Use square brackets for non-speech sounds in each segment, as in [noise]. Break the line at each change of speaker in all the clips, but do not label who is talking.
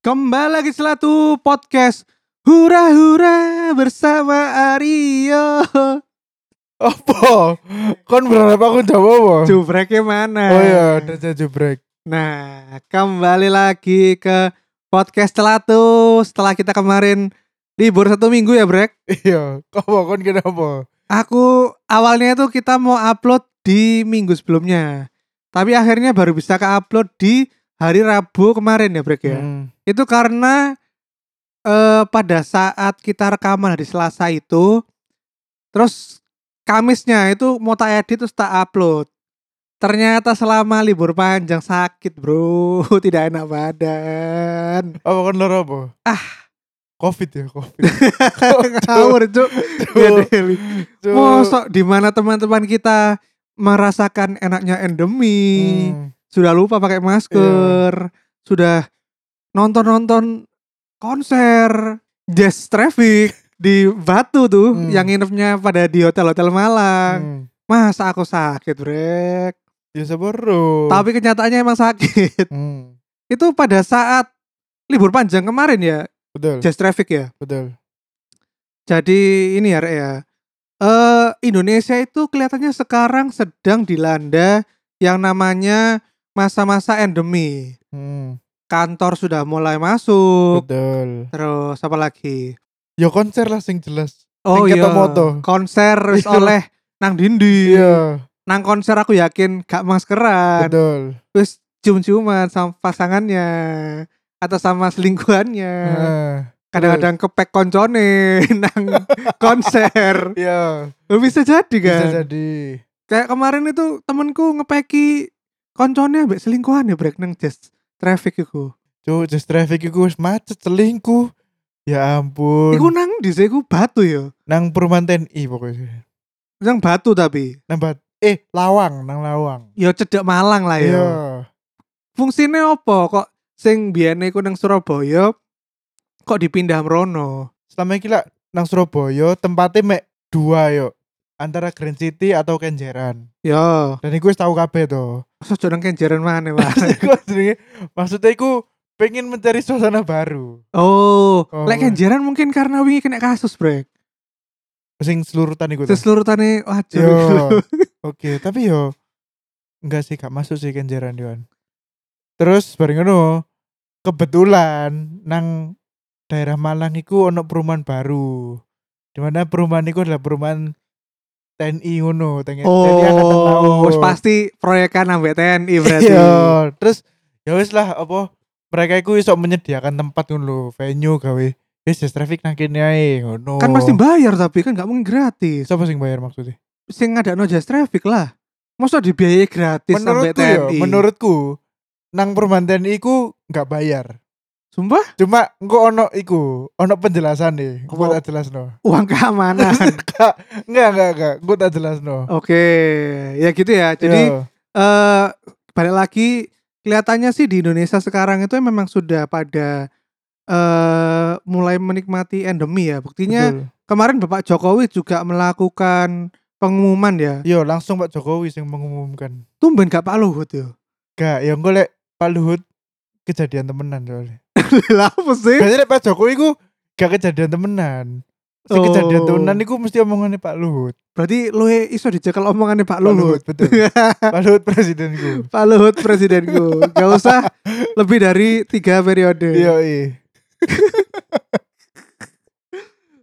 Kembali lagi selatu podcast Hura hura bersama Aryo
Apa? Kon berharap aku jawab apa?
Jubreknya mana?
Oh iya, Derja Jubrek
Nah kembali lagi ke podcast selatu Setelah kita kemarin libur satu minggu ya Brek
Iya, apa kon kenapa?
Aku awalnya itu kita mau upload di minggu sebelumnya Tapi akhirnya baru bisa ke upload di hari Rabu kemarin ya Brek ya
Hmm.
Itu karena eh, pada saat kita rekaman hari Selasa itu, terus Kamisnya itu mau tak edit terus tak upload. Ternyata selama libur panjang sakit bro, [laughs] tidak enak badan.
Apa kon lor apa?
Ah.
Covid ya,
[laughs]
Covid.
Ngawur cuk. Iya,
Cuk,
Ngedeli.
cuk.
Mosok di mana teman-teman kita merasakan enaknya endemi.
Hmm.
sudah lupa pakai masker,
Iya.
sudah nonton-nonton konser jazz traffic di Batu tuh
Hmm.
yang nginepnya pada di hotel-hotel Malang.
Hmm.
Masa aku sakit, Brek.
Ya sabar bro.
Tapi kenyataannya emang sakit. [laughs]
Hmm.
Itu pada saat libur panjang kemarin ya,
Betul,
jazz traffic ya.
betul.
Jadi ini ya, Rek ya. Eh Indonesia itu kelihatannya sekarang sedang dilanda yang namanya masa-masa endemi.
Hmm.
kantor sudah mulai masuk.
Betul.
Terus apa lagi?
Ya konser lah sing jelas. Sing Ketomoto. [laughs]
konser wis
Oh, Iya.
oleh nang dindi.
Iya,
Nang konser aku yakin gak maskeran.
betul.
Terus cium-ciuman sama pasangannya atau sama selingkuhannya.
Nah,
Kadang-kadang kepek koncone [laughs]
[laughs]
nang konser.
Iya,
Bisa jadi kan?
bisa jadi.
Kayak kemarin itu temenku ngepeki konconnya ambek selingkuhan ya break nang jazz traffic iku.
Cuk, just traffic iku wis macet selingkuh. Ya ampun.
Iku nang di iku batu ya.
nang perumahan TNI pokoknya.
Nang batu tapi.
Nang bat eh lawang, nang lawang.
ya cedek Malang lah
Iya.
ya. Fungsinya apa? Kok sing biyen iku nang Surabaya kok dipindah mrono?
Selama ini lah nang Surabaya tempatnya mek dua yo. Antara Grand City atau Kenjeran.
Ya,
Dan iku wis tahu kabeh to.
sojo nang Kenjeran mana
[laughs]
Pak?
Iku jenenge maksudnya iku pengen mencari suasana baru.
oh,
Oh.
lek Kenjeran mungkin karena wingi kena kasus, Brek.
Sing selurutan iku. to.
Seselurutannya wajar.
Yo. Oke, tapi yo enggak sih gak masuk sih Kenjeran Dion. Terus bareng ngono kebetulan nang daerah Malang iku ono perumahan baru. Dimana perumahan iku adalah perumahan TNI ngono, TNI, TNI Angkatan
[laughs] Oh,
Laut.
wis pasti proyekan ambek TNI berarti.
Iya, terus ya wis lah apa mereka iku iso menyediakan tempat ngono lho, venue gawe. Wis yes, traffic nang kene ae ngono.
Kan pasti bayar tapi kan gak mungkin gratis.
Siapa sing bayar maksudnya?
Sing ada no jazz traffic lah. Masa dibiayai gratis sampai
menurutku
TNI?
ya, menurutku nang perumahan TNI ku nggak bayar.
Sumpah
Cuma engko ono iku, ono penjelasan nih. Engko
Apa?
tak jelasno.
uang keamanan.
[laughs] Enggak, enggak, enggak, enggak. Engko tak jelasno.
Oke, ya gitu ya. Jadi
Yo.
eh balik lagi kelihatannya sih di Indonesia sekarang itu memang sudah pada eh mulai menikmati endemi ya. Buktinya
Betul.
kemarin Bapak Jokowi juga melakukan pengumuman ya.
Yo, langsung Pak Jokowi sing mengumumkan.
Tumben gak Pak Luhut yo. [laughs]
Enggak, ya engko lek Pak Luhut kejadian temenan soalnya.
Lah apa sih?
Biasanya lek Pak Jokowi ku gak kejadian temenan. Si
Oh.
kejadian temenan iku mesti omongannya Pak Luhut.
Berarti lu iso dicekel omongannya Pak
Pak
Luhut.
betul.
[laughs]
Pak Luhut presidenku.
Pak Luhut presidenku. Gak usah lebih dari tiga periode.
Iya, iya. [laughs]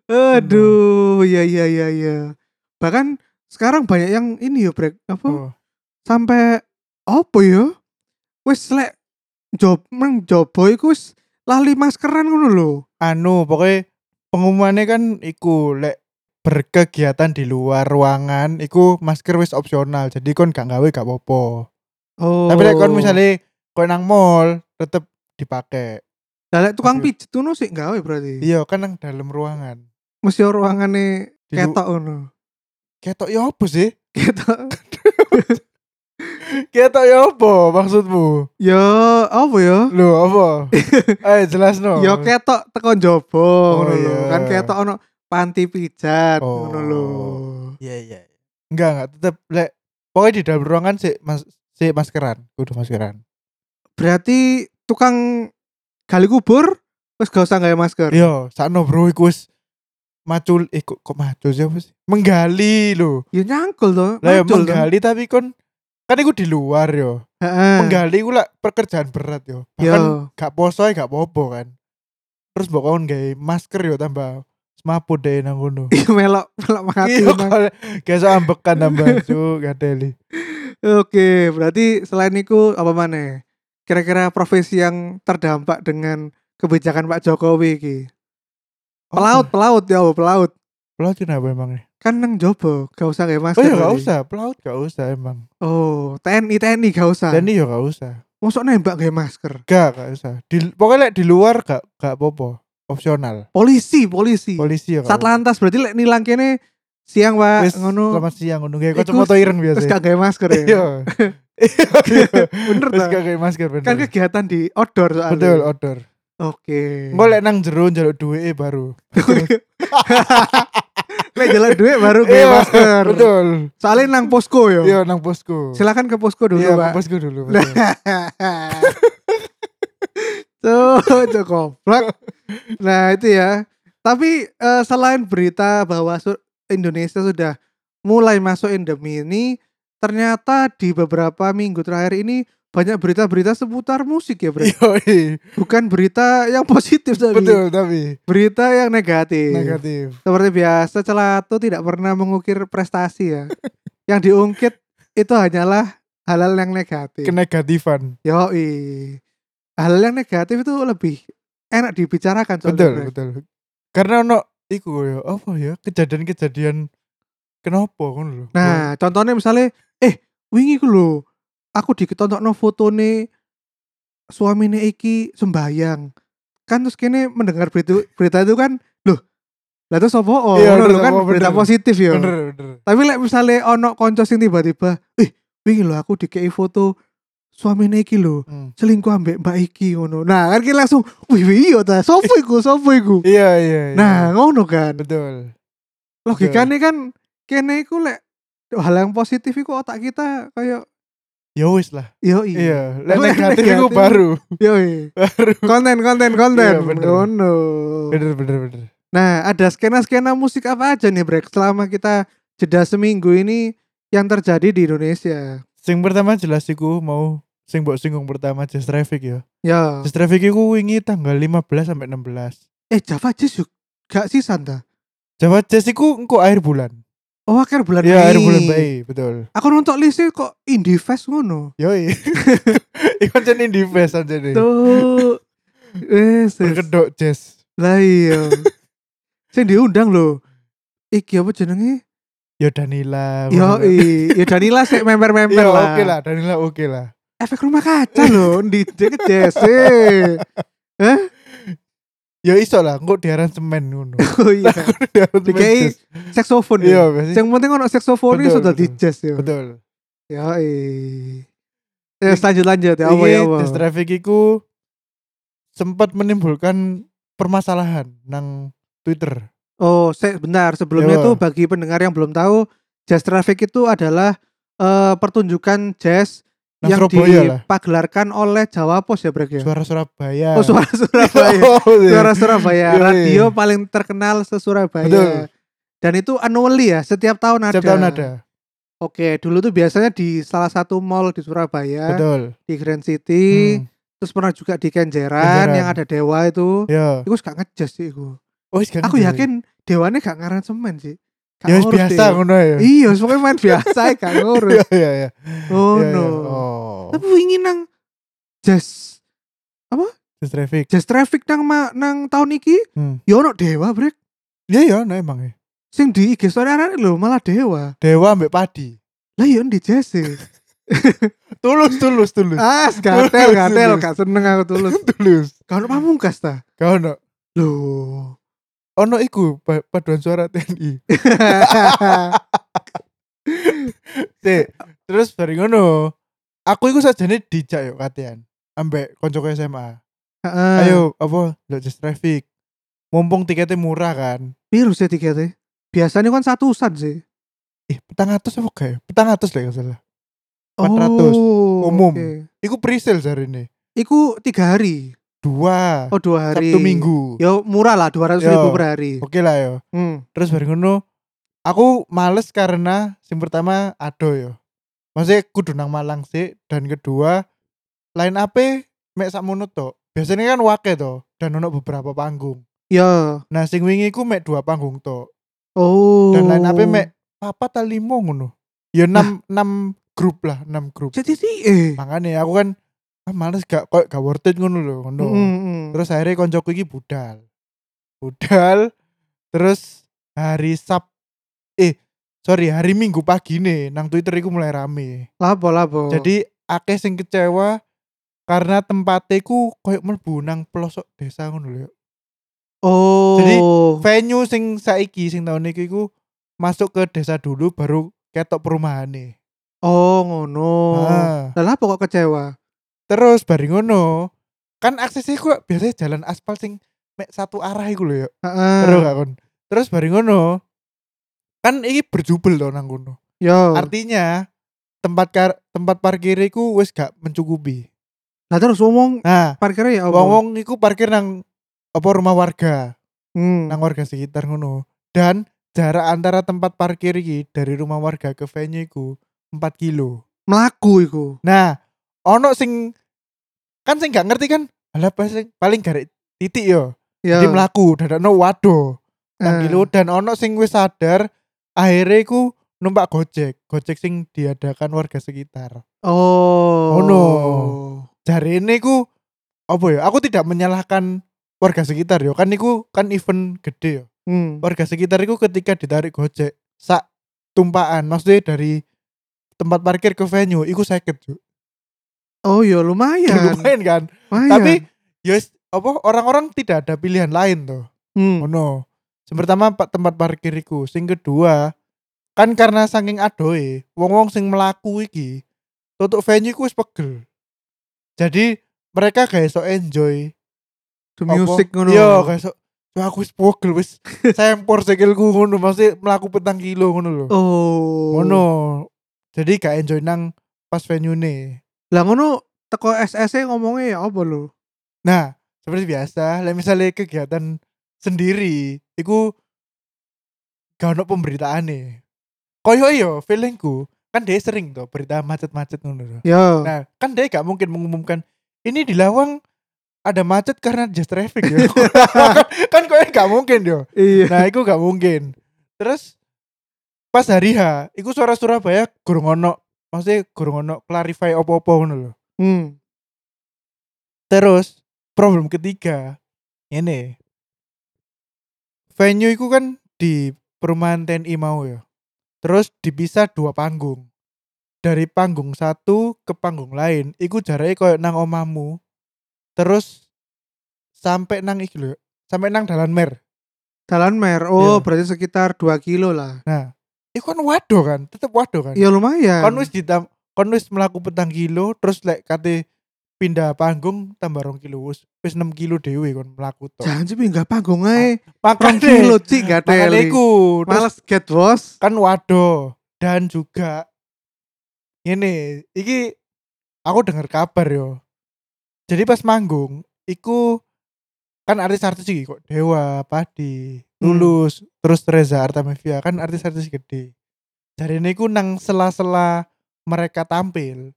Aduh, ya ya ya ya. Bahkan sekarang banyak yang ini yo brek apa
Oh.
sampai apa ya? Wis lek job nang jobo iku wis lali maskeran ngono lho.
anu pokoknya pengumumannya kan iku lek berkegiatan di luar ruangan iku masker wis opsional jadi kon gak gawe gak apa-apa
Oh.
tapi lek kon misalnya kon nang mall tetep dipakai
Lah, lek tukang
Aduh.
pijet ngono sih gawe berarti.
iya kan nang dalam ruangan
Mesti ruangane
Di lu-
ketok ngono.
ketok ya apa sih
Ketok.
ketok ya apa maksudmu
Yo, apa ya?
lho [laughs] apa ayo jelas no
Yo ketok teko jobo
Oh,
ngono lho.
iya.
Kan ketok ono panti pijat
Oh.
ngono lho.
iya iya enggak enggak tetep lek pokoknya di dalam ruangan sih mas si maskeran kudu maskeran
Berarti tukang gali kubur wis gak usah nggawe masker.
Yo, sakno bro iku wis macul eh kok, kok macul sih apa sih? Menggali lho.
Ya nyangkul to,
Lah ya
macul to.
menggali tapi kon kan iku di luar yo.
Heeh.
Menggali iku lah pekerjaan berat Eh. yo.
Yo,
Bahkan gak poso ya gak popo kan. Terus mbok kon gawe masker yo tambah semaput deh nang ngono.
iya melok melok mati.
Iya,
Mang.
kalau- kayak so ambekan [laughs] tambah cuk gadeli.
Oke, berarti selain itu apa mana? Kira-kira profesi yang terdampak dengan kebijakan Pak Jokowi iki. Pelaut, pelaut ya, oh, pelaut.
Pelaut kenapa emangnya?
Kan nang jobo, gak usah kayak
Oh
masker.
ya gak
berarti.
usah, pelaut gak usah emang.
Oh, TNI TNI gak usah.
Dan iya gak usah.
Mosok nembak kayak masker.
Gak, gak usah. Di, pokoknya lek di luar gak gak popo. Opsional.
Polisi, polisi.
Polisi ya. gak
Satlantas berarti lek nilang kene siang,
apa.
Pak.
Wis,
Ngono.
Selamat siang ngono kayak
Iku-
kacamata ireng biasa.
Terus gak kayak masker ya.
Iya. Iya.
Bener
Wis
ta?
gak kayak masker bener.
Kan Iya. kegiatan di outdoor soalnya.
Betul, outdoor.
Oke.
Engko lek nang jero njaluk duwe baru.
Lek jalan duit baru kayak
Iya,
masker.
[laughs] Betul.
Soalnya nang posko yo.
Iya nang bosku.
Silakan ke posko dulu,
Iya,
Pak.
nang bosku dulu. betul.
[laughs] Tuh, itu goblok. Nah, itu ya. Tapi eh, selain berita bahwa su- Indonesia sudah mulai masuk endemi ini, ternyata di beberapa minggu terakhir ini banyak berita-berita seputar musik ya, Bre.
Iya, iya.
Bukan berita yang positif tapi
betul tapi
berita yang negatif.
negatif.
Seperti biasa, Celatu tidak pernah mengukir prestasi ya. yang diungkit itu hanyalah halal yang negatif.
Kenegatifan.
Yoi. Hal yang negatif itu lebih enak dibicarakan soalnya.
Betul,
Bre.
betul. Karena ono iku ya, apa ya? Kejadian-kejadian kenapa ngono lho.
Nah, contohnya misalnya eh wingi ku lho aku diketokno fotone suamine iki sembayang. Kan terus kene mendengar berita, berita itu kan loh lah terus apa oh,
Iya,
ngono lho
terus
kan
apa, bener.
berita positif ya.
bener bener.
Tapi lek misalnya ono konco sing tiba-tiba eh wingi lho aku dikei foto suamine iki lho
Hmm.
selingkuh ambek mbak iki ngono. Nah, kan kita langsung wih wih iya ta sopo iku sopo iku.
Iya, iya, iya.
Nah, ngono kan.
betul.
Logikane kan kene iku lek hal yang positif iku otak kita kayak
Ya wis lah.
yo iya.
Iya, lek
Lek
negatif
negatif.
iku baru.
Yo iya.
Baru.
Konten konten konten.
Iya, bener.
Ngono.
Bener bener bener.
Nah, ada skena-skena musik apa aja nih, Brek? Selama kita jeda seminggu ini yang terjadi di Indonesia.
Sing pertama jelas iku mau sing mbok singgung pertama Just Traffic ya.
Ya.
Just Traffic iku wingi tanggal 15 sampai 16.
Eh, Java Jazz yuk gak sisan ta?
Jawa Jazz iku engko akhir bulan.
Oh, akhir bulan Mei.
Iya, akhir bulan Mei, betul.
Aku nonton listnya kok Indie Fest ngono.
Yoi. [laughs] Iku jen indie fest anjene.
Tuh. Wes. wes.
Berkedok jazz.
Eh, Lah iya. Sing diundang lho. Iki apa jenenge?
Ya Danila.
Yo
ngono.
ya Danila sik member-member
Iya,
lah.
oke lah, Danila oke lah.
Efek rumah kaca lho di deket JC.
Ya iso lah, engko di aransemen ngono. [laughs]
Oh iya.
Di aransemen
Dikai
jazz.
Saksofon. ya.
Iya, biasanya.
Yang penting ono saksofon
Betul,
sudah di ya.
betul.
jazz yo.
Betul.
Yo Ya lanjut lanjut ya apa
Iki
ya apa.
Jazz Traffic iku sempat menimbulkan permasalahan nang Twitter.
Oh, se- bentar sebelumnya
Yo.
tuh bagi pendengar yang belum tahu, jazz traffic itu adalah eh, pertunjukan jazz
Nang
yang
Surabaya lah.
dipagelarkan oleh Jawa Pos ya, Brek ya.
Suara Surabaya.
Oh,
Oh,
suara
[laughs]
Surabaya. Suara Surabaya
Iya, iya.
radio paling terkenal se Surabaya.
Betul.
Dan itu annually ya, setiap tahun ada.
Setiap tahun ada.
Oke, dulu tuh biasanya di salah satu mall di Surabaya,
Betul.
di Grand City,
Hmm.
terus pernah juga di
Kenjeran.
Kenjeran yang ada Dewa itu.
Ya.
Iku gak ngejas sih iku.
Oh, sekarang
Aku
jadi.
yakin Dewanya gak ngaransemen sih. Gak
Ya wis
ngurus
biasa
deh.
ngono ya.
Iya, pokoknya main biasa gak ngurus.
[laughs] Iya, iya, iya.
Oh
Iya, iya.
no.
Oh.
Tapi ingin nang jazz
Jazz Traffic.
jazz traffic nang ma- nang tahun iki
Hmm.
ya ono Dewa, Brek.
Iya, iya, nah emang ya.
sing di IG story arane lho malah dewa.
Dewa ambek
[laughs]
Padi.
Lah iya di
[laughs]
Jesse.
Tulus, tulus, tulus.
ah, gatel gatel gak seneng aku
[laughs]
tulus.
tulus.
Kalau pamungkas ta.
Kau ono.
Lho.
Ono iku pa- paduan suara TNI. [laughs] Sik, terus dari ngono, aku iku sajane dijak yo katean ambek koncoku SMA.
Heeh.
Ayo, apa? Lo just traffic. Mumpung tiketnya murah kan.
biru sih tiketnya. Biasanya kan satusan sih.
Eh, petang atus apa gak ya? Petang atus lah nggak salah. 400,
Oh,
umum.
oke.
Iku pre-sale hari ini.
Iku tiga hari.
dua
Oh dua hari.
Sabtu Minggu.
Yo murah lah 200
Yo.
ribu per hari.
Oke lah yo.
Hmm.
Terus baru ngono aku males karena sing pertama ado yo. Maksudnya kudu nang Malang sih dan kedua line up mek sakmono tok. Biasanya kan wake to dan ono beberapa panggung.
Yo.
Nah sing wingi ku mek dua panggung tok
Oh.
dan line up mek papat ta limo ngono. Ya enam enam grup lah, enam grup.
Jadi sih eh.
Makanya aku kan ah, males gak kok gak worth it ngono lho ngono.
Mm-mm.
Terus akhirnya koncoku iki budal. Budal terus hari Sab eh sorry hari Minggu pagi nih nang Twitter iku mulai rame.
Lapo lapo.
Jadi akeh sing kecewa karena tempatnya ku koyok mlebu nang pelosok desa ngono lho.
oh.
jadi, Venue sing saiki sing tahun iki ku masuk ke desa dulu baru ketok perumahan nih.
oh ngono.
Ah.
Lah lapo kok kecewa?
terus bari ngono kan aksesnya ku biasanya jalan aspal sing mek satu arah iku lho ya.
Heeh.
Terus gak kon. Terus bari ngono. Kan iki berjubel to nang kono.
Yo.
Artinya tempat kar tempat parkir iku wis gak mencukupi.
Lah terus ngomong
Nah,
parkirnya ya apa?
wong-wong iku parkir nang apa rumah warga,
Hmm.
nang warga sekitar ngono. Dan jarak antara tempat parkir iki dari rumah warga ke venue iku 4 kilo.
Melaku iku.
Nah, ono sing kan sing gak ngerti kan, alah paling paling garek titik yo.
Yo.
Jadi mlaku dadakno waduh.
Eh.
nang kilo dan ono sing wis sadar akhirnya ku numpak gojek gojek sing diadakan warga sekitar
Oh.
Ngono. jari ini ku apa ya aku tidak menyalahkan warga sekitar yo kan niku kan event gede yo
Hmm.
warga sekitar itu ketika ditarik gojek sak tumpaan maksudnya dari tempat parkir ke venue iku sakit yo
Oh ya lumayan.
[laughs] lumayan kan
Lumayan.
tapi yes apa orang-orang tidak ada pilihan lain tuh
Hmm.
Ono. Sing pertama pak tempat parkir iku. Sing kedua, kan karena saking adoe, wong-wong sing melaku iki tutup venue iku wis pegel. Jadi mereka gak iso enjoy.
The music ngono.
Yo, gak iso. Wah, aku wis pegel
[laughs]
wis sempor sikilku ngono, mesti melaku petang kilo ngono lho.
Oh.
Ngono. Jadi gak enjoy nang pas venue ne.
Lah ngono teko SS -e ngomongnya ya apa lo?
Nah, seperti biasa, lah misalnya kegiatan sendiri, iku gak ono pemberitaan nih. Koyo yo, feelingku kan dia sering tuh berita macet-macet ngono. tuh.
Yo.
Nah, kan dia gak mungkin mengumumkan ini di Lawang ada macet karena just traffic ya. [laughs] kan, kan koyo gak mungkin yo.
iya.
Nah, iku gak mungkin. Terus pas hari H, iku suara Surabaya gurung ono, maksudnya gurung ono clarify opo-opo ngono lho.
Hmm.
Terus problem ketiga ini venue itu kan di perumahan TNI mau ya. Terus dipisah dua panggung. Dari panggung satu ke panggung lain, iku jaraknya koyo nang omamu. Terus sampai nang iki lho, sampai nang dalan mer.
Jalan Mer. Oh,
Iya.
berarti sekitar 2 kilo lah.
Nah, iku kan waduh kan, tetep waduh kan.
Ya lumayan.
Kon wis ditam kon wis mlaku petang kilo terus lek kate pindah panggung tambah rong kilo wis wis 6 kilo dhewe kon mlaku tok.
Jangan sih pinggah panggung ae. Rong
Oh, Makane
kilo cik gak
makane
teli.
iku terus
Males get bos.
kan waduh dan juga ini iki aku dengar kabar yo. Jadi pas manggung iku kan artis-artis iki kok Dewa, Padi, Tulus, terus Reza Artamevia kan artis-artis gede. Dari ini iku nang sela-sela mereka tampil.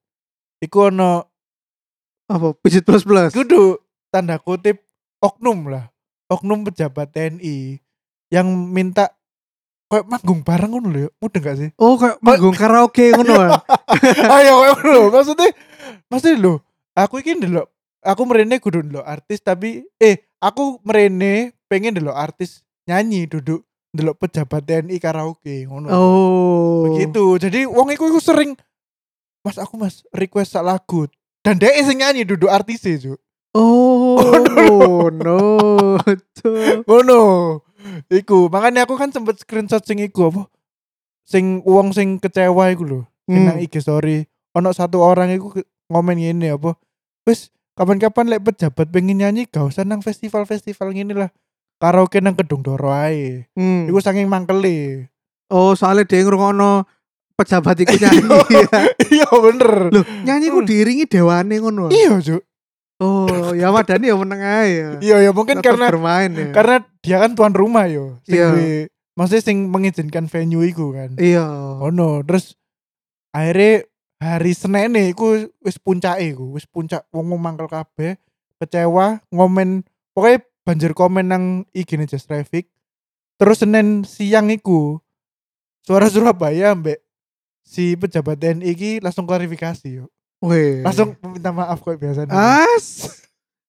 Iku ono
Apa pijit plus plus.
kudu tanda kutip oknum lah oknum pejabat TNI yang minta kayak manggung bareng ngono lho ya. mudeng gak sih
Oh, kayak manggung karaoke ngono.
[laughs]
ah.
ayo kayak ngono lho maksudnya maksudnya lho aku ini dulu aku merene kudu dulu artis tapi eh aku merene pengen dulu artis nyanyi duduk dulu pejabat TNI karaoke ngono
Oh.
begitu jadi wong iku iku sering mas aku mas request sak lagu dan dia sing nyanyi duduk artis itu
Oh, no. Cuk.
Ngono. Iku, makanya aku kan sempet screenshot sing iku apa? Sing uang sing kecewa iku lho, sing nang
Hmm.
IG story. Ono satu orang iku ke- ngomen ngene apa? Wis kapan-kapan lek pejabat pengen nyanyi gak usah nang festival-festival ngene lah. Karaoke nang Kedung Doro ae.
Hmm.
Iku saking mangkeli.
[laughs] Oh, soalnya dia ngrungokno pejabat
[laughs]
iku nyanyi.
Iya Hmm. bener.
Loh, nyanyi ku diiringi dewane ngono.
Iya, Cuk.
Oh, ya wadani ya meneng ae ya.
Iya ya mungkin
Tetep
karena
bermain ya.
karena dia kan tuan rumah yo. Sing
Iya.
duwe- maksudnya sing mengizinkan venue iku kan.
iya.
Oh no, terus akhirnya hari Senin nih, aku wis puncak iku, wis puncak wong wong mangkel kabeh, kecewa, ngomen, pokoknya banjir komen nang IG nih Just Traffic. Terus Senin siang iku, suara Surabaya mbek si pejabat TNI iki langsung klarifikasi yuk.
Weh.
Oh, Langsung minta maaf kok biasanya.
as.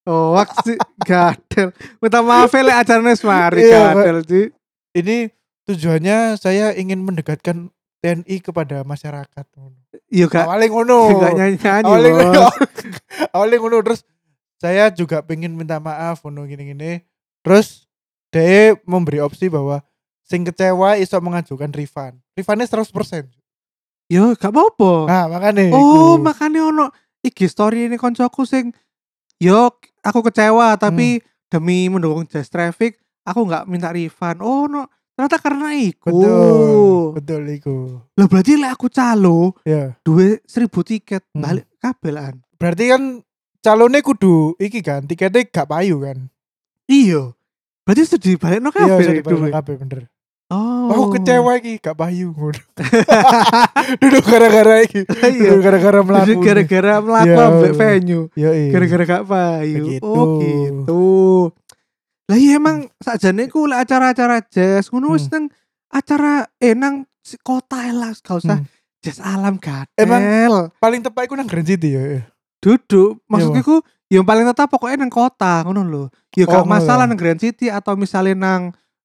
Oh, waksi gadel. Minta maaf ya, lek ajarane wis mari
Iya, Pak.
gadel, Ci.
Ini tujuannya saya ingin mendekatkan TNI kepada masyarakat.
Iya gak
Awalnya ngono.
[laughs] gak nyanyi-nyanyi.
Oh. awalnya
Bos.
ngono awalnya ngono terus saya juga pengen minta maaf ngono gini gini terus dia memberi opsi bahwa sing kecewa iso mengajukan refund refundnya 100%
Yo, Iya, gak apa-apa.
nah makanya
Oh,
iku.
makanya ono IG story ini koncoku sing yo aku kecewa tapi
Hmm.
demi mendukung Just Traffic aku nggak minta refund. Oh, no. Ternyata karena iku.
betul betul iku
Lah berarti lek aku calo
ya
duwe 1000 tiket
Hmm.
balik kabelan.
berarti kan calonnya kudu iki kan tiketnya gak payu kan Iya,
Iya. Berarti sudah dibalik no kabel
bisa
duwe.
dibayar kabeh, bener
Oh.
aku kecewa iki gak payu
[laughs]
ngono duduk gara-gara iki
Iya.
[laughs] duduk gara-gara
Jadi
melaku
gara-gara melaku
Iya.
ambek venue.
Yoi.
gara-gara gak payu
Begitu.
oh gitu lah iya emang sakjane ku lek acara-acara jazz ngono wis
Hmm.
nang acara eh nang si- kota ae lah gak usah
Hmm.
jazz alam gadel
Emang- paling tepat iku nang Grand City ya
duduk maksudnya
Iya,
ku yang paling tetap pokoknya nang kota ngono lho ya gak
Oh, ngono
masalah
ya.
nang Grand City atau misalnya nang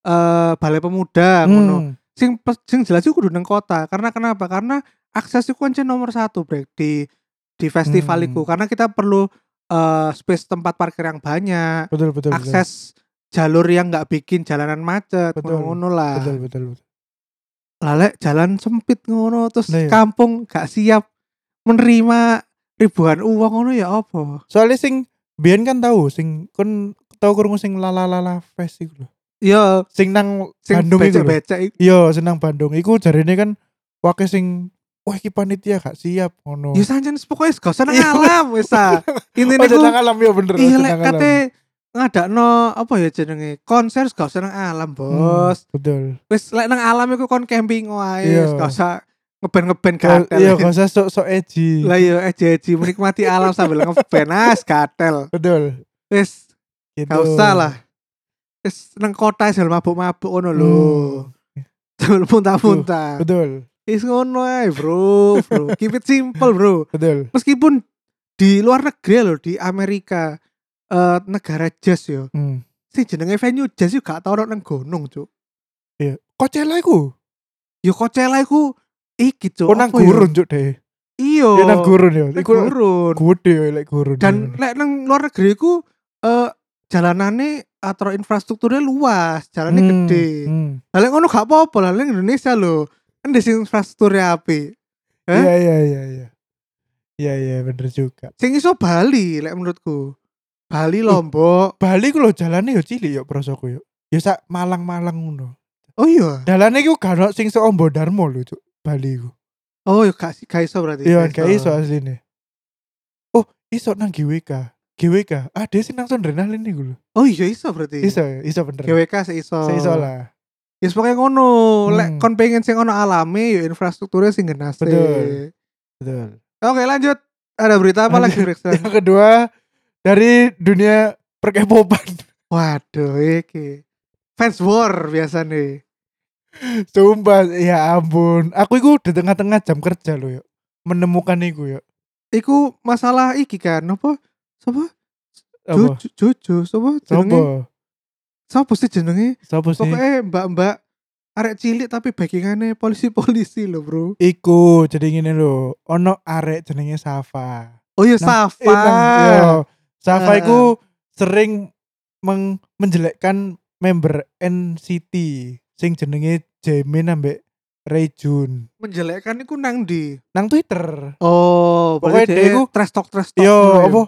eh, Balai Pemuda ngono
Hmm.
sing pe- sing jelas iku kudu nang kota karena kenapa karena akses itu kunci nomor satu brek di di festival
Hmm.
iku karena kita perlu eh, space tempat parkir yang banyak
betul betul betul.
akses jalur yang nggak bikin jalanan macet
Betul.
ngono lah
betul betul betul
Lalek jalan sempit ngono terus
Lah iya.
kampung gak siap menerima ribuan uang ngono ya apa
soalnya sing Bian kan tahu sing kon tahu kurung sing lala lala fest iku lho.
ya
sing nang
sing
Bandung iku lho.
becek-becek iku.
iya sing nang Bandung iku jarine kan wake sing wah iki panitia gak siap ngono
ya sanjen pokoknya gak usah nang
Oh. Iya.
alam wis
[laughs]
ah
oh,
intine ku
jenang alam ya bener
Iya
jenang
lek
alam.
kate ngadakno apa ya jenenge konser gak usah nang alam,
Hmm,
Bos.
betul
Wis lek nang alam iku kon camping wae,
Iya.
wis gak usah ngeben-ngeben
Gak-
gatel.
iya gak usah sok sok edgy
Lah yo eji-eji menikmati alam sambil ngeben as gatel.
betul
Wis
gitu.
gak usah lah. Wis nang kota sambil mabuk-mabuk ngono
Hmm,
lho. Sambil muntah-muntah.
betul
Wis ngono ae, Bro, Bro. Keep it simple, Bro.
betul
Meskipun di luar negeri loh di Amerika eh, negara jazz yo
hmm.
sing jenenge venue jazz yo gak tau nang gunung, Cuk.
iya Coachella iku
Yo Coachella iku iki, Cuk.
oh nang
Apa yo?
gurun cuk deh
Iya.
Iya nang gurun ya
Nang
iku
gurun.
gede ya lek gurun
Dan lek nang luar negeri iku eh jalanane atau infrastrukturnya luas, jalannya
Hmm,
gede.
hmm.
Lah lek ngono gak apa-apa lah lek Indonesia lho. Kan di sini infrastrukturnya apik. Eh?
Iya iya iya iya. Iya iya bener juga.
Sing iso Bali lek menurutku. Bali Lombok.
Bali ku lho jalane yo cilik yo prosoku yo. Ya sak Malang-Malang ngono.
Oh iya.
Dalane ku gak ono sing seombo Darmo lho cuk. Bali ku.
Oh iya gak gak iso berarti.
Iya gak iso asline. Oh, iso nang GWK. GWK. Ah, dia sing nang Sondrenalin iku lho.
Oh iya iso berarti.
Iso ya, iso bener.
GWK seiso.
Seiso lah.
Ya pokoknya ngono, lek
Hmm.
kon pengen sing ono alami, ya infrastrukturnya sing genase.
Betul. Betul.
Oke lanjut, ada berita apa lagi
[laughs]
Brixton?
Yang kedua dari dunia perkepopan. [laughs]
Waduh, iki fans war biasa nih.
Sumpah, ya ampun. Aku iku di tengah-tengah jam kerja lho yo. Menemukan iku yo.
Iku masalah iki kan, apa? Sopo?
Apa?
Jojo, Jojo, sopo? Jenenge? E? Sopo
Sopo?
sih jenenge?
Sopo sih?
Pokoknya mbak-mbak arek cilik tapi backingannya polisi-polisi loh bro.
Iku jadi ngene lho, ono arek jenenge Safa.
Oh iya
Nang-
Safa.
Eh, nang- yo. Safa
Ah.
iku sering meng- menjelekkan member NCT sing jenenge Jamin ambek Rejun
Menjelekkan iku nang di.
nang Twitter.
Oh, pokoknya
Pokoknya dia
dia
iku-
trash talk trash talk.
Yo,
ngono ya.
apa?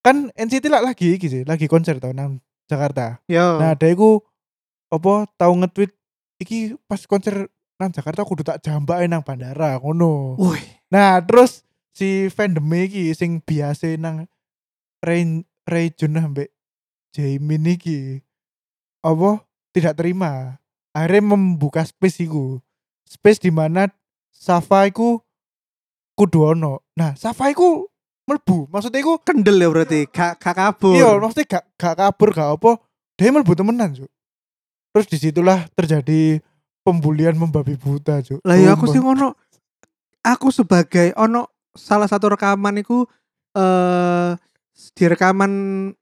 Kan NCT lah lagi iki sih, lagi konser tau nang Jakarta.
Yo.
Nah, dia iku apa tau nge-tweet iki pas konser nang Jakarta kudu tak jambake nang bandara ngono.
Wih.
Nah, terus si fandom iki sing biasa nang Rain Rejun ambek Jamin iki apa tidak terima. Akhirnya membuka space iku. Space di mana Safa iku kudu ono. Nah, Safa iku melbu. Maksudnya iku
Kendel ya berarti, gak gak kabur.
Iya, maksudnya gak, gak kabur, gak apa. Dia mlebu temenan, Cuk. Terus disitulah terjadi pembulian membabi buta, Cuk.
Lah ya aku
Sumpah.
sih ngono. Aku sebagai ono salah satu rekaman iku eh di rekaman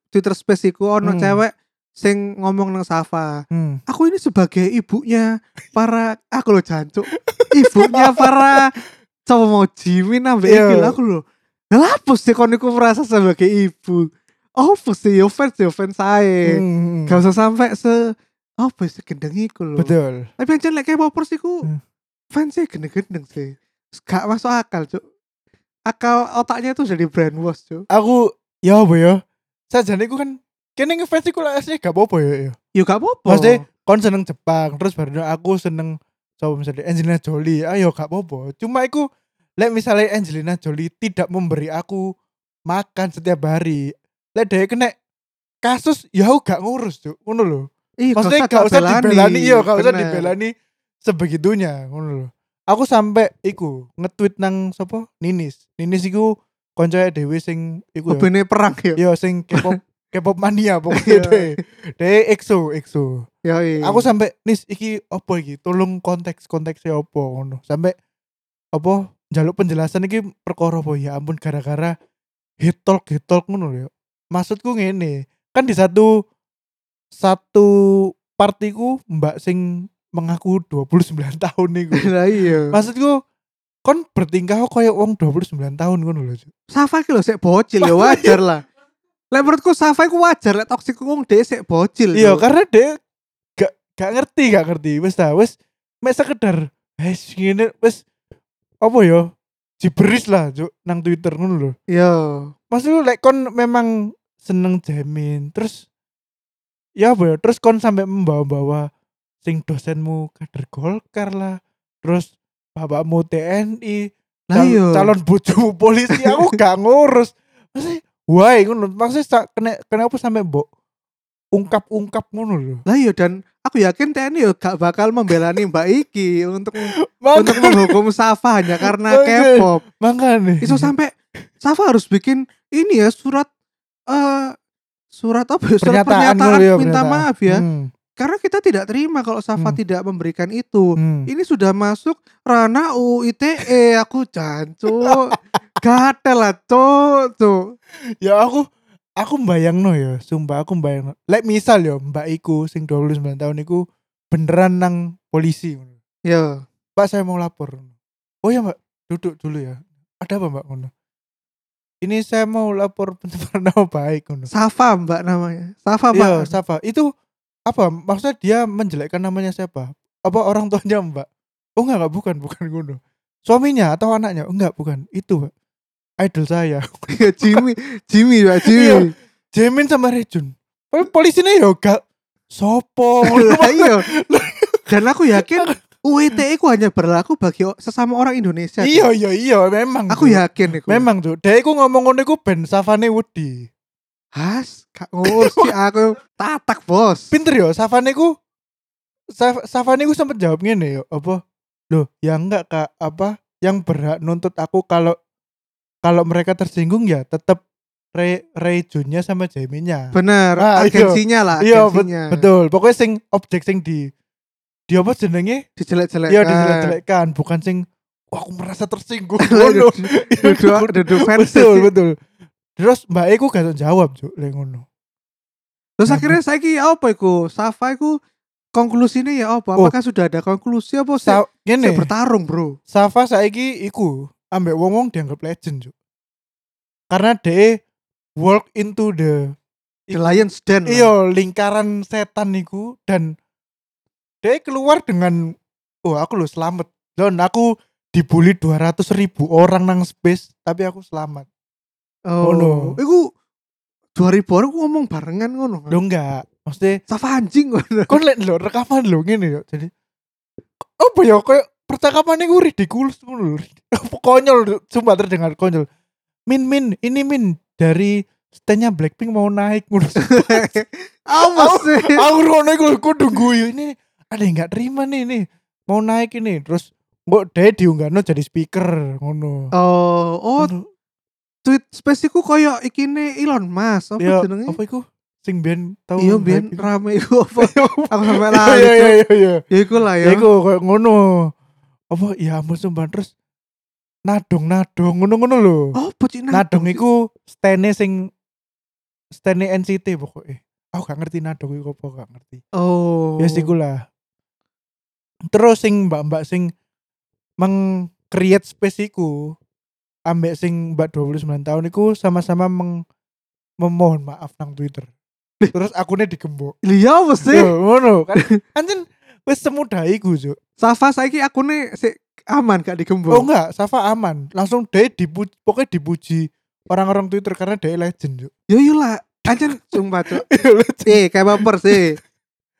Twitter Space iku ono
Hmm.
cewek sing ngomong nang Safa.
Hmm.
Aku ini sebagai ibunya para aku lo jancuk. Ibunya para cowok mau Jimin ambek
Iya.
iki lho, aku lo. Lah apa sih kon iku merasa sebagai ibu? Apa sih yo fans yo fans saya.
Hmm.
Gak usah sampai se apa sih gendeng iku lho.
Betul.
Tapi yang jelek kayak popers iku
Hmm.
fans sih gendeng-gendeng sih. Gak masuk akal, Cuk. Akal otaknya itu jadi brainwash, Cuk.
Aku ya apa ya? Sajane iku kan kene ngefans iku lah asli gak apa-apa ya. ya.
Ya gak apa-apa.
Maksudnya kon seneng Jepang, terus baru aku seneng coba misalnya Angelina Jolie, ayo gak apa-apa. Cuma iku lek misalnya Angelina Jolie tidak memberi aku makan setiap hari, lek dia kena kasus ya aku gak ngurus tuh, ngono loh.
Iya,
Maksudnya gak usah dibelani, iya gak usah dibelani sebegitunya, ngono loh. Aku sampai iku nge-tweet nang sapa? Ninis. Ninis iku koncoe dhewe sing iku ya.
Ubene perang ya.
Yo sing
[laughs]
K-pop K-pop mania pokoknya
Iya.
deh. Deh EXO EXO.
Ya, iya.
Aku sampai nis iki apa iki? Tolong konteks konteksnya apa ngono. Sampai apa njaluk penjelasan iki perkara apa ya ampun gara-gara hit talk hit talk ngono lho. ya. Maksudku ngene, kan di satu satu partiku mbak sing mengaku 29 tahun niku.
[laughs] Lah iya.
Maksudku kon bertingkah kok kayak wong 29 tahun ngono lho. Cuk.
Safa iki lho sik bocil ya wajar
iya.
lah. Lah menurutku Safa iku wajar lek toksik wong dhek sik bocil.
Iya,
Cuk.
karena dia gak gak ngerti, gak ngerti. Wes ta, wes mek sekedar wes ngene wes apa ya? Jiberis lah, Cuk, nang Twitter ngono lho.
Iya.
Maksudku lek kon memang seneng jamin, terus ya apa ya? Terus kon sampai membawa-bawa sing dosenmu kader Golkar lah, terus bapakmu TNI,
Lah
cal-
iya.
calon bojomu
[laughs]
polisi aku gak ngurus maksudnya why ngono maksudnya sa- kena kenapa sampai mbok ungkap-ungkap ngono lho
Lah iya dan aku yakin TNI yo gak bakal membelani Mbak Iki
[laughs]
untuk untuk
Maka-
menghukum Safa hanya karena
Oke.
K-pop.
makanya
itu sampai Safa harus bikin ini ya surat eh surat apa ya, surat pernyataan,
ngono ya,
minta
pernyataan.
maaf ya
Hmm,
karena kita tidak terima kalau Safa
Hmm.
tidak memberikan itu
hmm.
ini sudah masuk ranah UU ITE E. aku jancuk gatel lah tuh tuh
ya aku aku bayangno ya sumpah aku bayangno lek misal ya mbak iku sing 29 tahun iku beneran nang polisi ngono.
ya
Mbak saya mau lapor. Oh ya Mbak, duduk dulu ya. Ada apa Mbak ngono? Ini saya mau lapor [laughs] pencemaran nama baik ngono.
Safa mbak namanya Safa
Iya,
[laughs] mbak
Safa. Itu apa? Maksudnya dia menjelekkan namanya siapa? Apa orang tuanya Mbak? Oh enggak, enggak bukan, bukan Guno. Suaminya atau anaknya? Enggak, bukan. Itu Mbak. Idol saya. [laughs]
Iya, Jimmy Jimmy mbak Jimmy
Jamin sama Rejun. Pol- Polisinya ya enggak.
[laughs]
Sopo.
Lah, iya dan aku yakin UU ITE E ku hanya berlaku bagi o- sesama orang Indonesia
iya, iya, iya, memang.
aku ya.
Cuk.
yakin itu
Memang tuh. Dia iku ngomong ngono iku ben Savane Woody.
Has, gak ngurusi aku tatak bos.
pinter yo Savane ku Saf- Savane ku sempet jawab ngene yo apa loh ya enggak kak apa yang berhak nuntut aku kalau kalau mereka tersinggung ya tetap Re Rejunya sama Jaminya
Bener,
Ah, iya.
agensinya lah,
iya bet-
agensinya.
betul pokoknya sing objek sing di di apa jenenge
Dijelek-jelekkan.
ya dijelek-jelekkan bukan sing "Wah, aku merasa
[laughs]
tersinggung
Duduk,
ngono.
duduk, duduk fans.
betul betul terus mbak Eku gak tau jawab Cuk, le ngono
Terus akhirnya saya ki apa iku? Safa iku konklusinya ya apa?
Oh.
Apakah sudah ada konklusi apa sih?
Sa ngene
Saya bertarung, Bro.
Safa saiki iku ambek wong-wong dianggap legend, Cuk. Karena de walk into the
The Lions Den. lah.
iyo lingkaran setan niku dan de keluar dengan oh aku lo selamat. Don aku dibully 200 ribu orang nang space tapi aku selamat.
Oh,
Ngono.
Iku 2000 orang ku ngomong barengan ngono.
Lo enggak. Maksudnya
Safa anjing
[laughs]
ngono.
kon liat lo rekaman lo ngene yo. Jadi apa ya kayak percakapan niku ridiculous ngono lho. Konyol sumpah terdengar konyol. Min min ini min dari stand-nya Blackpink mau naik
[laughs]
ngono.
Apa sih?
Aku rono iku lho, kudu guyu ini ada yang nggak terima nih nih mau naik ini terus mbok deh diunggahno jadi speaker ngono.
Oh, oh
Ngono.
tweet space iku koyo ikine Elon Musk apa
Ya,
jenenge?
apa iku sing ben tau
Iya biyen
hype iku.
rame iku apa? Aku sampe
[laughs] Iya,
lali.
iya iya
Cuk.
iya iya.
Ya iku lah ya.
Ya iku koyo ngono. Apa ya ampun sumpah terus nadong-nadong ngono-ngono lho.
Oh, bocil
Nadong iku stene sing stene NCT pokoknya. Aku gak ngerti nadong iku apa gak ngerti.
Oh.
Ya yes, iku lah. Terus sing mbak-mbak sing meng create space iku ambek sing mbak 29 tahun iku sama-sama meng memohon maaf nang Twitter. Terus akunnya digembok.
Iya apa sih?
Yo, ngono
[laughs]
kan. Anjen wis semudah iku, Cuk.
Safa saiki akune sik aman gak
Oh
digembok.
enggak, Safa aman. Langsung deh dipuji, pokoknya dipuji orang-orang Twitter karena dia legend, Cuk.
Yo yo lah. Anjen Ya sumpah
[laughs]
cuk.
Legend.
Eh, kayak baper sih.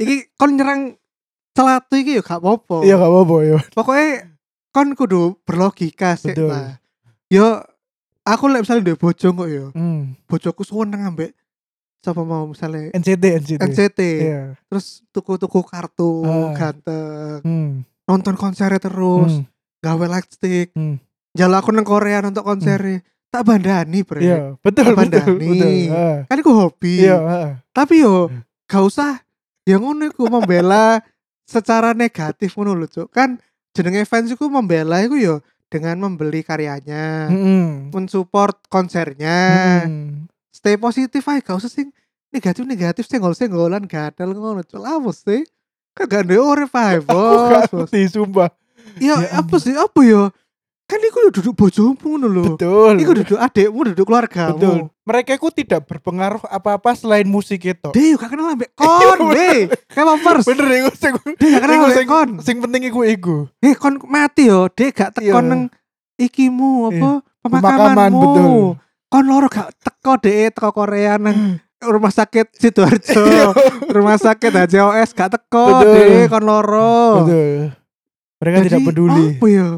Iki kon nyerang celatu iki yo gak apa-apa.
Iya gak apa-apa ya.
Pokoknya kon kudu berlogika sih
Betul.
lah. Yo aku lek misalnya duwe bojo kok yo.
Hmm.
Bojoku seneng ambek sapa mau misalnya
NCT NCT.
NCT.
Iya.
terus tuku-tuku kartu
Ah.
ganteng
Hmm.
nonton konsernya terus
Hmm.
gawe lightstick
Hmm.
jalan aku nang Korea nonton konsernya tak bandani bre
Iya, betul
Apa
betul
Dani?
betul. Ah,
kan aku hobi
Iya, heeh.
tapi yo
Hmm.
gak usah ya ngono iku membela secara negatif ngono lho Cuk. kan jenenge fans iku membela iku yo dengan membeli karyanya
Heeh.
mensupport konsernya
Hmm.
stay positif aja gak usah sing negatif negatif senggol senggolan gadal ngono cuk apa sih kan gak ada orang paham
Aku gak
bos bos
ngerti sumpah.
ya
Ya
apa sih apa ya kan iku yo duduk bojomu ngono lho
Betul.
iku duduk adekmu duduk
betul.
keluargamu
Mereka itu tidak berpengaruh apa-apa selain musik itu.
Deh, yo gak kenal ambek kon, deh. Kayak first.
Iya, Bener iku sing
Deh, gak kenal
iku
ambek
sing,
kon.
sing penting iku iku.
Deh, Eh, kon mati yo. Deh, gak
Iya.
tekon neng ikimu
Iya.
apa
Pemakaman
pemakamanmu.
betul.
Kon loro gak teko deh teko Korea nang rumah sakit
Iya,
Sidoarjo. rumah sakit HJOS gak teko
Betul.
deh kon loro
Betul. Mereka tidak
oh.
peduli. Iya.
apa ya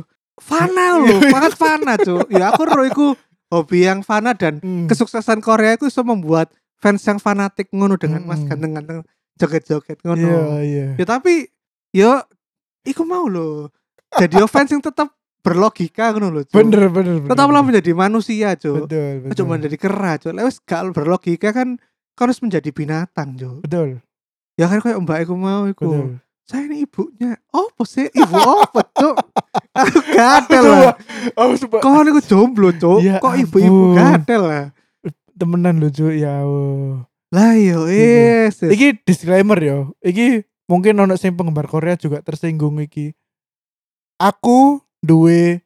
fana loh banget fana cuy ya aku roh iku hobi yang fana dan
Hmm.
kesuksesan Korea itu bisa membuat fans yang fanatik ngono dengan mas
Mm-mm.
ganteng-ganteng joget-joget ngono
Hmm. Iya, iya.
ya tapi ya iku mau loh jadi fans yang tetap berlogika ngono loh Cuk.
Bener, bener, bener.
tetaplah menjadi manusia cuy
Betul, betul.
cuma menjadi kera cuy lewes gak berlogika kan kan harus menjadi binatang cuy
Betul,
ya kan kayak mbak iku mau iku
betul.
saya ini ibunya apa sih ibu apa cuk aku gatel
Coba,
lah
aku coba
kau aku jomblo cuk
Ya
kok ibu-ibu
ampun.
gatel lah
temenan lucu ya. Allah.
lah yo eh sis.
Iya. Iki disclaimer yo. Iki mungkin ono sing penggemar Korea juga tersinggung iki. Aku duwe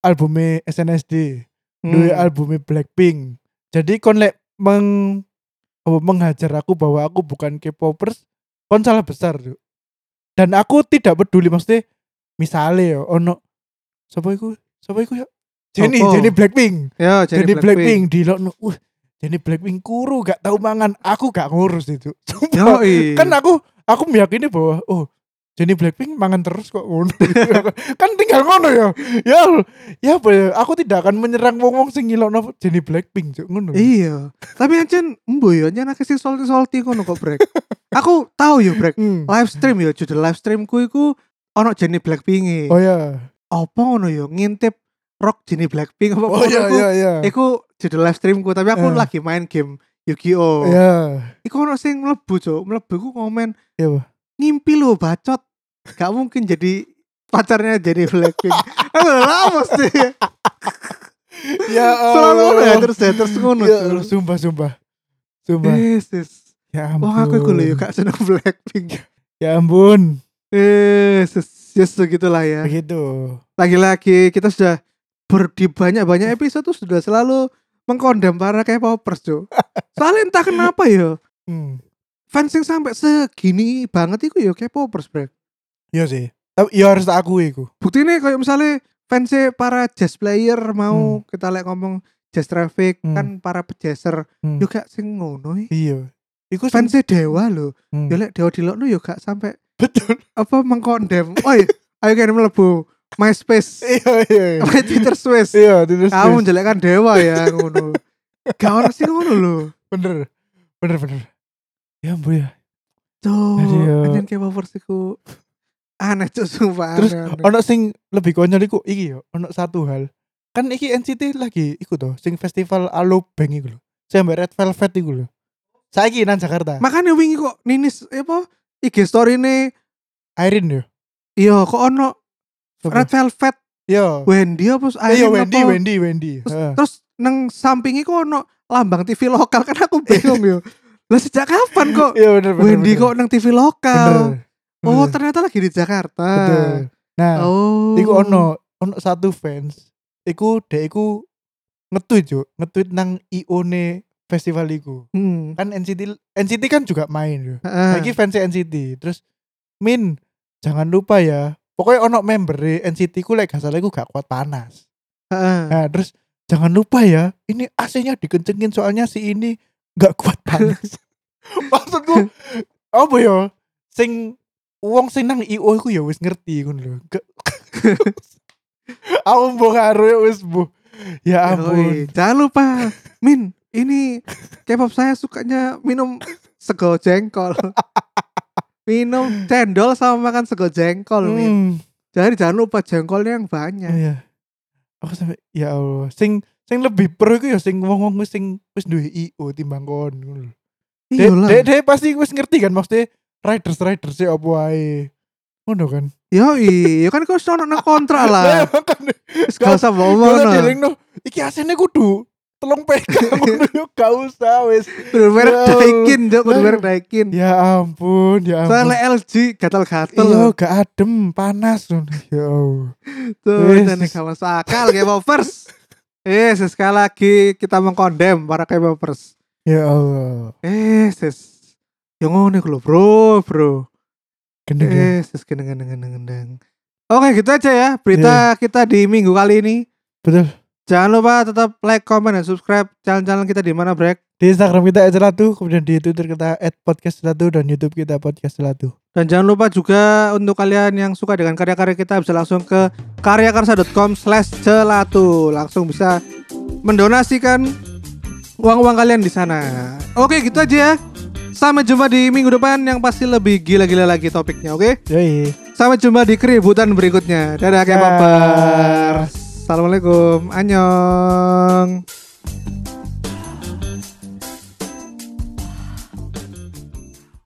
albume SNSD, duwe
Hmm.
albume Blackpink. Jadi kon lek meng apa, menghajar aku bahwa aku bukan K-popers, kon salah besar. Cuk. Dan aku tidak peduli maksudnya misalnya yo ono sapa iku? Sapa iku ya? Jenny,
Sopo?
Jenny Blackpink.
yo
Jadi Blackpink di lo uh, jadi Blackpink kuru gak tahu mangan aku gak ngurus itu [laughs] Sumpah.
Yoi.
kan aku aku meyakini bahwa oh jadi Blackpink mangan terus kok ngono [laughs] kan tinggal ngono ya ya ya apa ya, aku tidak akan menyerang wong wong sing ngilokno jadi Blackpink cuk
[laughs]
ngono
Iya, tapi ya, ancen embo yo nyen akeh sing solti-solti ngono kok
[laughs]
brek. Aku tahu yo brek.
Hmm.
Live stream yo judul live streamku iku ono Jenny Blackpink.
oh ya
Apa ngono yo ngintip rock Jenny Blackpink apa
oh ya
ngono
ya ya
iya, iku. Iku judul live streamku, tapi aku
Eh.
lagi main game Yu-Gi-Oh.
ya
Iku ono sing mlebu, Cuk. Mlebu ku komen,
Iya, Pak.
Ngimpi lo bacot. Gak mungkin jadi pacarnya Jenny
[laughs]
Blackpink. Aku lama sih.
ya
Selalu
Allah.
ono haters-haters ngono.
Ya
Cuk.
Allah, sumpah sumpah sumpah
Yes, yes.
ya ampun
Wah Eh, aku iku lho ya gak seneng Blackpink.
ya ampun
Eh, ses- yes segitulah ya.
begitu
Lagi-lagi kita sudah ber- di banyak-banyak episode tuh sudah selalu mengkondem para K-popers,
[laughs]
Cuk. Soalnya entah kenapa ya,
hmm.
fans yang sampai segini banget iku ya K-popers, Brek.
Iya sih. Tapi ya harus tak akui iku.
Buktinya kayak misalnya fans para jazz player mau kita lihat ngomong jazz traffic
Hmm.
kan para pejazzer
Hmm.
juga sing ngono. eh.
Iya. Iku
Fans dewa loh.
Hmm.
Ya lek dewa dilokno ya gak sampai
betul.
apa mengkondem oi ayo kalian melebu MySpace
Iya iya. iya.
apa Twitter Swiss
Iya, terus.
kamu menjelekkan dewa ya ngono Gak ono sih ngono lho.
bener bener bener ya bu ya
Cuk,
Aduh.
anjen K-popers iku aneh cuk sumpah.
terus
aneh, aneh.
ono sing lebih konyol iku iki yo ono satu hal kan iki NCT lagi iku toh sing festival Alubeng iku lho sing mbak Red Velvet iku lho saiki nang Jakarta
makanya wingi kok Ninis eh, apa IG story ini
Irene yo
iya kok ono
Sopo?
Red Velvet
yo
Wendy apa terus
Eh, yo
Irene
Wendy
apa?
Wendy Wendy
terus,
Heeh.
terus neng sampingnya kok ono lambang TV lokal kan aku bingung
[laughs]
yo lah sejak kapan kok
iya bener bener
Wendy
bener.
kok neng TV lokal
bener Hmm.
oh
bener.
ternyata lagi di Jakarta
betul nah
oh
iku ono ono satu fans iku dek iku nge-tweet yo nge-tweet nang IO ne festival iku
hmm.
kan NCT NCT kan juga main yo
Heeh.
lagi fans NCT terus Min jangan lupa ya pokoknya ono member NCT ku lek gak salah iku gak kuat panas
Heeh.
nah terus jangan lupa ya ini AC-nya dikencengin soalnya si ini gak kuat panas [laughs] maksudku apa ya sing wong sing nang IO iku ya wis ngerti ngono lho Gak- [laughs] aku mbok karo ya wis bu
Yoi,
ya ampun
jangan lupa Min ini K-pop saya sukanya minum sego
[laughs]
jengkol minum cendol sama makan sego jengkol Min
Hmm.
jadi jangan lupa jengkolnya yang banyak
Iya. Aku sampe ya Allah, sing sing lebih pro iku ya sing wong-wong wis sing wis duwe IO timbang kon ngono lho. Dek-
Iyalah.
Dek dek pasti wis ngerti kan maksudnya riders riders sih apa wae. Ngono kan.
Yoi, ya kan kau sono nang kontra
Lah, ya,
lah.
makane
Wis Gak usah
ngono
bohong no.
dilingno. Iki asene kudu telung pegang [laughs] ngono yo gak usah wis.
Kudu merek
Wow.
Daikin, Dok, kudu
Lah.
merek Daikin.
Ya ampun, ya ampun.
Soalnya LG gatal-gatal
Iya,
loh.
gak adem, panas ngono. Ya Allah.
Tuh,
Yesus.
dan gak masuk akal K-popers. Eh, sekali lagi kita mengkondem para K-popers.
Ya Allah.
Eh, sis. Yang ngono iku lho, Bro, Bro.
Gendeng.
Eh, sis gendeng-gendeng. Oke, gitu aja ya berita kita di minggu kali ini.
Betul.
Jangan lupa tetap like, comment, dan subscribe channel-channel kita di mana, Brek.
Di Instagram kita @celatu, kemudian di Twitter kita @podcastcelatu dan YouTube kita podcastcelatu.
Dan jangan lupa juga untuk kalian yang suka dengan karya-karya kita bisa langsung ke karyakarsa.com slash celatu Langsung bisa mendonasikan uang-uang kalian di sana Oke gitu aja ya Sampai jumpa di minggu depan yang pasti lebih gila-gila lagi topiknya oke
Yoi.
Sampai jumpa di keributan berikutnya Dadah kayak
Dah.
Assalamualaikum Annyeong